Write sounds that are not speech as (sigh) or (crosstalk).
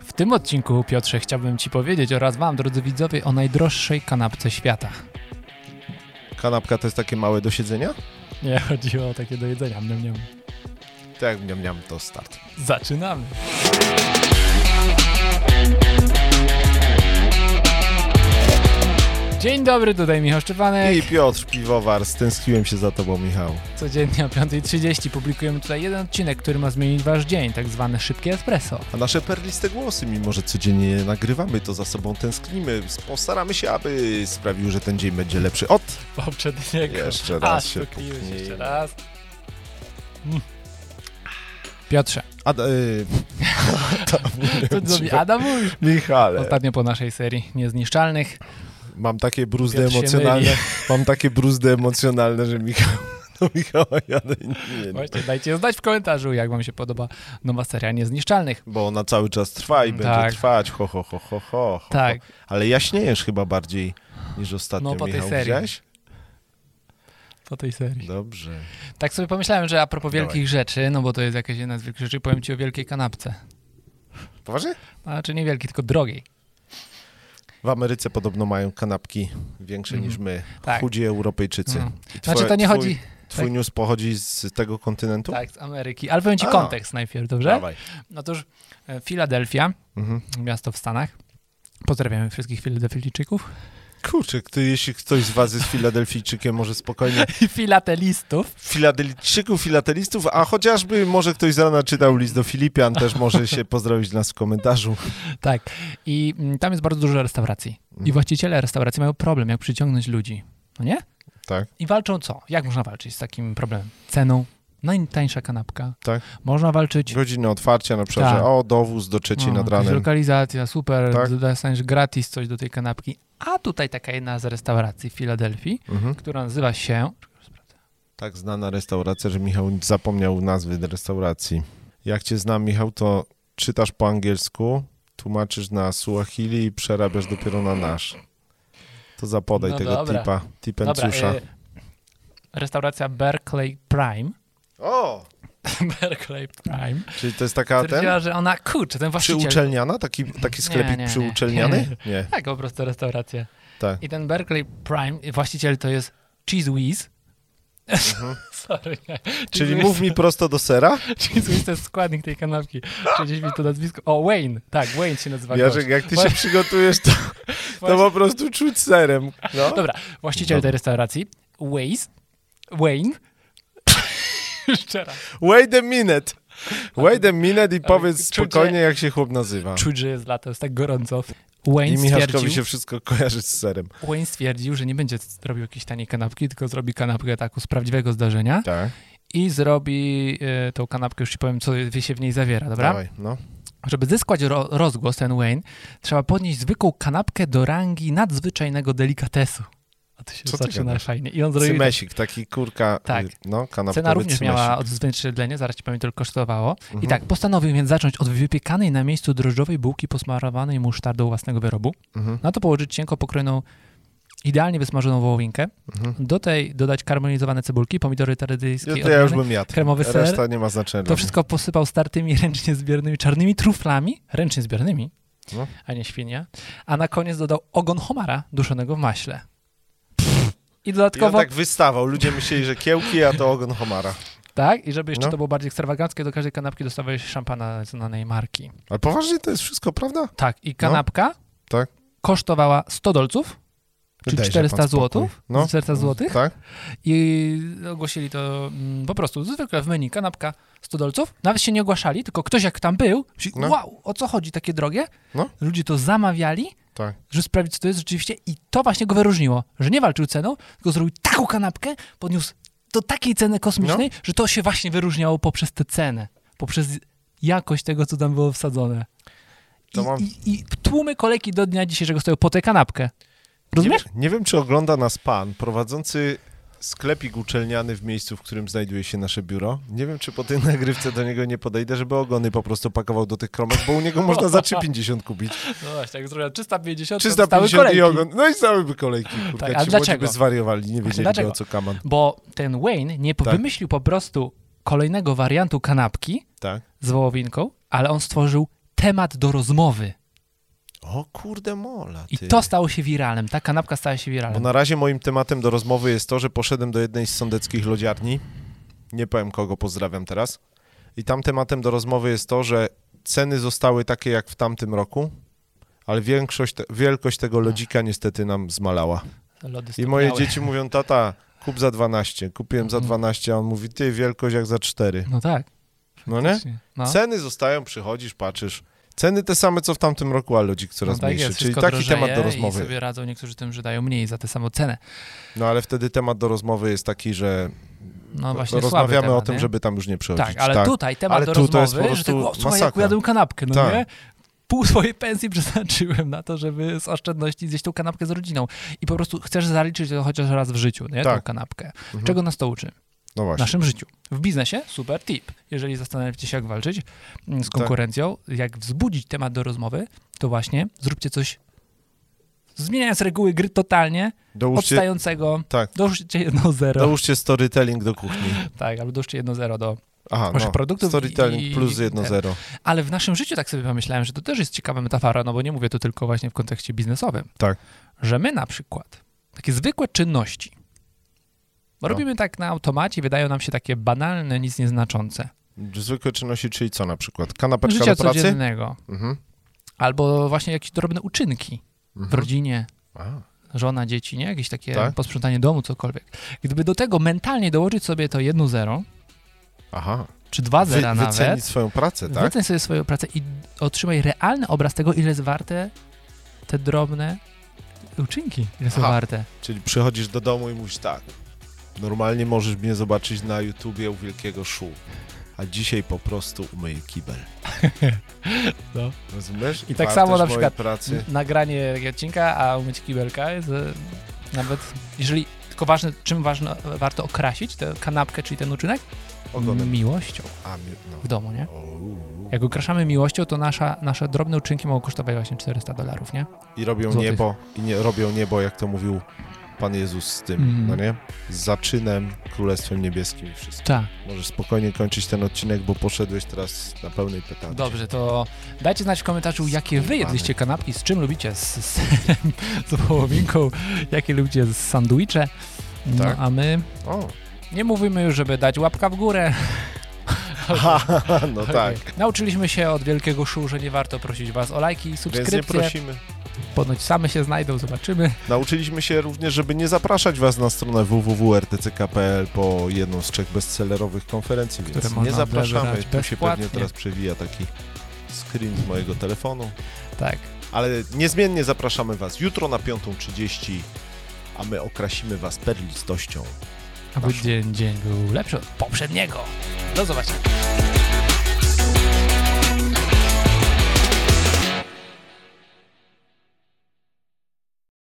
W tym odcinku, Piotrze, chciałbym Ci powiedzieć oraz Wam, drodzy widzowie, o najdroższej kanapce świata. Kanapka to jest takie małe do siedzenia? Nie, chodziło o takie do jedzenia. Mniam, mniam. Tak, miam, miam, to start. Zaczynamy! Dzień dobry, tutaj Michał Szczepanek. I Piotr Piwowar, stęskiłem się za tobą, Michał. Codziennie o 5.30 publikujemy tutaj jeden odcinek, który ma zmienić Wasz dzień, tak zwane szybkie espresso. A nasze perliste głosy, mimo że codziennie je nagrywamy, to za sobą tęsknimy. Postaramy się, aby sprawił, że ten dzień będzie lepszy od... Poprzedniego. Jeszcze raz A, się stukliłeś puknij. jeszcze raz. Mm. Piotrze, Ad... y, to co mi Adam mówi? Michale, Ostatnio po naszej serii Niezniszczalnych. tak. mam takie bruzdy Piotr się emocjonalne, myli. (laughs) mam takie bruzdy emocjonalne, że Michał... (laughs) No Michała ja nie, nie, (laughs) nie. Właśnie, dajcie znać w komentarzu, jak wam się podoba nowa seria Niezniszczalnych. Bo ona cały czas trwa i Tak. będzie trwać, ho, ho, ho, ho, ho, ho. Tak. Ale jaśniejesz chyba bardziej niż ostatnio, No, po tej Michał. serii. Widziałeś? Po tej serii. Dobrze. Tak sobie pomyślałem, że a propos No. Dawaj. wielkich rzeczy, no bo to jest jakaś jedna z wielkich rzeczy, powiem ci o wielkiej kanapce. Poważnie? Znaczy nie wielkiej, tylko drogiej. W Ameryce podobno mają kanapki większe Mhm. niż my, Tak. chudzi Europejczycy. Mhm. I Znaczy to nie twój, chodzi... Twój tak. news pochodzi z tego kontynentu? Tak, z Ameryki. Ale powiem ci A. kontekst najpierw, dobrze? Dawaj. Otóż e, Filadelfia, Mhm. miasto w Stanach. Pozdrawiamy wszystkich Filadelfijczyków Kurczę, ty, jeśli ktoś z was jest Filadelfijczykiem, może spokojnie. i filatelistów. Filadelfijczyków, filatelistów, a chociażby może ktoś z rana czytał list do Filipian, też może się pozdrowić nas w komentarzu. Tak. I mm, tam jest bardzo dużo restauracji. I Mhm. właściciele restauracji mają problem, jak przyciągnąć ludzi. No nie? Tak. I walczą co? Jak można walczyć z takim problemem? Ceną. Najtańsza kanapka. Tak. Można walczyć. Godziny otwarcia na przykład, Tak. że o, dowóz do trzeciej no, nad jakaś ranem. Lokalizacja, super, Tak. dostaniesz gratis coś do tej kanapki. A tutaj taka jedna z restauracji w Filadelfii, Mhm. która nazywa się Tak znana restauracja, że Michał zapomniał nazwy restauracji. Jak cię znam, Michał, to czytasz po angielsku, tłumaczysz na Suahili i przerabiasz dopiero na nasz. To zapodaj No tego dobra. tipa, tipencusza. Dobra, e, restauracja Berkeley Prime. (laughs) O! Berkeley Prime. Czyli to jest taka ten, Twierdziła, że ona, kurczę, ten właściciel. przyuczelniana? Taki, taki sklepik nie, nie. (laughs) przyuczelniany? Nie. Tak, po prostu restauracja. tak. I ten Berkeley Prime, i właściciel to jest Cheese Whiz. (laughs) Sorry, nie. Cheese Mhm. Czyli Whiz- mów mi prosto do (laughs) sera? Cheese Whiz to jest składnik tej kanapki. Przecież mi to nazwisko. O, Wayne. Tak, Wayne się nazywa. Jarzek, gość. jak ty się przygotujesz, to, to po prostu czuć serem. No. Dobra, właściciel tej restauracji, Waze, Wayne. (laughs) Jeszcze raz. Wait a minute. Wait a minute i powiedz czuć, że- spokojnie, jak się chłop nazywa. Czuć, że jest lato, jest tak gorąco. Wayne I stwierdził, Michaszkowi się wszystko kojarzy z serem. Wayne stwierdził, że nie będzie robił jakiejś taniej kanapki, tylko zrobi kanapkę taką z prawdziwego zdarzenia Tak, i zrobi y, tą kanapkę, już ci powiem, co się w niej zawiera, dobra? dawaj, no. Żeby zyskać ro rozgłos, ten Wayne, trzeba podnieść zwykłą kanapkę do rangi nadzwyczajnego delikatesu. A to się Co ty zaczyna gadasz? fajnie. I on zrobił... Cymesik, taki kurka, Tak. y, no, kanapkowy Cena również cymesik. miała odzwierciedlenie, zaraz ci powiem, ile kosztowało. I Mhm. tak, postanowił więc zacząć od wypiekanej na miejscu drożdżowej bułki posmarowanej musztardą własnego wyrobu. Mhm. Na to położyć cienko pokrojoną, idealnie wysmażoną wołowinkę. Mhm. Do tej dodać karmelizowane cebulki, pomidory taradyjskie, Ja, to ja już odmiany, bym jadł. kremowy ser. Reszta nie ma znaczenia. To wszystko posypał startymi, (laughs) ręcznie zbiernymi czarnymi truflami, ręcznie zbiernymi, No. a nie świnia, a na koniec dodał ogon homara duszonego w maśle. I I on dodatkowo, tak... tak wystawał, ludzie myśleli, że kiełki, a to ogon homara. tak? i żeby jeszcze No. to było bardziej ekstrawaganckie, do każdej kanapki dostawałeś szampana znanej marki. Ale poważnie to jest wszystko, prawda? Tak, i kanapka No. tak. kosztowała 100 dolców, czyli Dajże 400 pan spokój. zł, No. 400 zł Tak? i ogłosili to mm, po prostu zwykle w menu kanapka 100 dolców. Nawet się nie ogłaszali, tylko ktoś jak tam był, myśli, No. wow, o co chodzi, takie drogie? No. Ludzie to zamawiali, Tak. żeby sprawdzić, co to jest rzeczywiście i to właśnie go wyróżniło, że nie walczył ceną, tylko zrobił taką kanapkę, podniósł do takiej ceny kosmicznej, No. że to się właśnie wyróżniało poprzez tę cenę, poprzez jakość tego, co tam było wsadzone. I, To mam- i, I tłumy kolejki do dnia dzisiejszego stoją po tę kanapkę. Rozumiesz? Nie, nie wiem, czy ogląda nas pan prowadzący sklepik uczelniany w miejscu, w którym znajduje się nasze biuro. Nie wiem, czy po tej (laughs) nagrywce do niego nie podejdę, żeby ogony po prostu pakował do tych kromek, bo u niego można za 3,50 kupić. No właśnie, tak jak zrobiła 350, 350 i ogon. No i stały by kolejki. Kurka, Tak, tak, a ci dlaczego? Tak, młodzi by zwariowali, nie wiedzieliby Dlaczego? o co kaman. Bo ten Wayne nie Tak. wymyślił po prostu kolejnego wariantu kanapki Tak. z wołowinką, ale on stworzył temat do rozmowy. O kurde mola, ty. I to stało się wiralem. Ta kanapka stała się wiralem. Bo na razie moim tematem do rozmowy jest to, że poszedłem do jednej z sądeckich lodziarni. Nie powiem kogo, pozdrawiam teraz. I tam tematem do rozmowy jest to, że ceny zostały takie jak w tamtym roku, ale większość, te, wielkość tego Tak. lodzika niestety nam zmalała. Lody I moje stopniały. dzieci mówią, tata, kup za 12. Kupiłem za Mhm. 12, a on mówi, ty, wielkość jak za 4. No tak. No nie? faktycznie. No. Ceny zostają, przychodzisz, patrzysz. Ceny te same, co w tamtym roku, a lodzik coraz no tak mniejszy. jest, Czyli wszystko taki drożeje temat do I rozmowy. sobie radzą niektórzy tym, że dają mniej za tę samą cenę. No ale wtedy temat do rozmowy jest taki, że No właśnie rozmawiamy słaby temat, o tym, nie? żeby tam już nie przychodzić. Tak, ale tutaj temat Ale do tu to jest po rozmowy, że prostu tak, o, słuchaj, jak masakra. jadłem kanapkę, no Tak. nie? Pół swojej pensji (laughs) przeznaczyłem na to, żeby z oszczędności zjeść tą kanapkę z rodziną. I po prostu chcesz zaliczyć to chociaż raz w życiu, nie? Tą Tak. kanapkę. Mhm. Czego nas to uczy? No w właśnie. naszym życiu. W biznesie super tip. Jeżeli zastanawiacie się, jak walczyć mm, Tak. z konkurencją, jak wzbudzić temat do rozmowy, to właśnie zróbcie coś zmieniając reguły gry totalnie, Dołóżcie, odstającego, tak, dołóżcie 1-0, dołóżcie storytelling do kuchni. tak, albo dołóżcie 1-0 do... Aha, Może no. produktów storytelling i- plus i- 1.0. Ale w naszym życiu tak sobie pomyślałem, że to też jest ciekawa metafora, no bo nie mówię to tylko właśnie w kontekście biznesowym. Tak. Że my na przykład takie zwykłe czynności No. robimy tak na automacie, wydają nam się takie banalne, nic nieznaczące. No, Zwykłe czynności, czyli co na przykład? Kanapeczka Życia do pracy? codziennego. Mhm. Albo właśnie jakieś drobne uczynki w Mhm. rodzinie, A, żona, dzieci, nie? Jakieś takie Tak. posprzątanie domu, cokolwiek. Gdyby do tego mentalnie dołożyć sobie to 1-0, Aha. czy 2-0 Wy, wycenić nawet, swoją pracę, tak? wyceń sobie swoją pracę i otrzymaj realny obraz tego, ile jest warte te drobne uczynki, ile są Aha. warte. Czyli przychodzisz do domu i mówisz tak. Normalnie możesz mnie zobaczyć na YouTubie u Wielkiego Szu, a dzisiaj po prostu umyję kibel. (laughs) No. Rozumiesz? I tak Wartość samo na mojej przykład- Pracy. Nagranie takiego odcinka, a umyć kibelka jest e, nawet, jeżeli tylko ważne, czym ważne, warto okrasić tę kanapkę, czyli ten uczynek? Ogonem. Miłością A, mi- (laughs) no. w domu, nie? Ouu. Jak okraszamy miłością, to nasza, nasze drobne uczynki mogą kosztować właśnie 400 dolarów, nie? I robią Złotych. niebo, i nie, robią niebo, jak to mówił Pan Jezus z tym, Mhm. no nie? Z zaczynem, Królestwem Niebieskim i wszystkim. Tak. Możesz spokojnie kończyć ten odcinek, bo poszedłeś teraz na pełnej petardzie. Dobrze, to dajcie znać w komentarzu, jakie wy jedliście kanapki, z czym lubicie, z, z, (laughs) z wołowinką, jakie lubicie z sandwicze. No, Tak. a my (laughs) O, nie mówimy już, żeby dać łapka w górę. (laughs) no tak. (laughs) Nauczyliśmy się od wielkiego szu, że nie warto prosić was o lajki i Więc nie subskrypcje. prosimy. Ponoć same się znajdą, zobaczymy. Nauczyliśmy się również, żeby nie zapraszać Was na stronę www.rtck.pl po jedną z trzech bestsellerowych konferencji, Które więc nie można zapraszamy. wybrać Tu się bezpłatnie. pewnie teraz przewija taki screen z mojego telefonu. Tak. Ale niezmiennie zapraszamy Was jutro na 5.30, a my okrasimy Was perlistością. Aby Proszę. dzień, dzień był lepszy od poprzedniego. Do zobaczenia.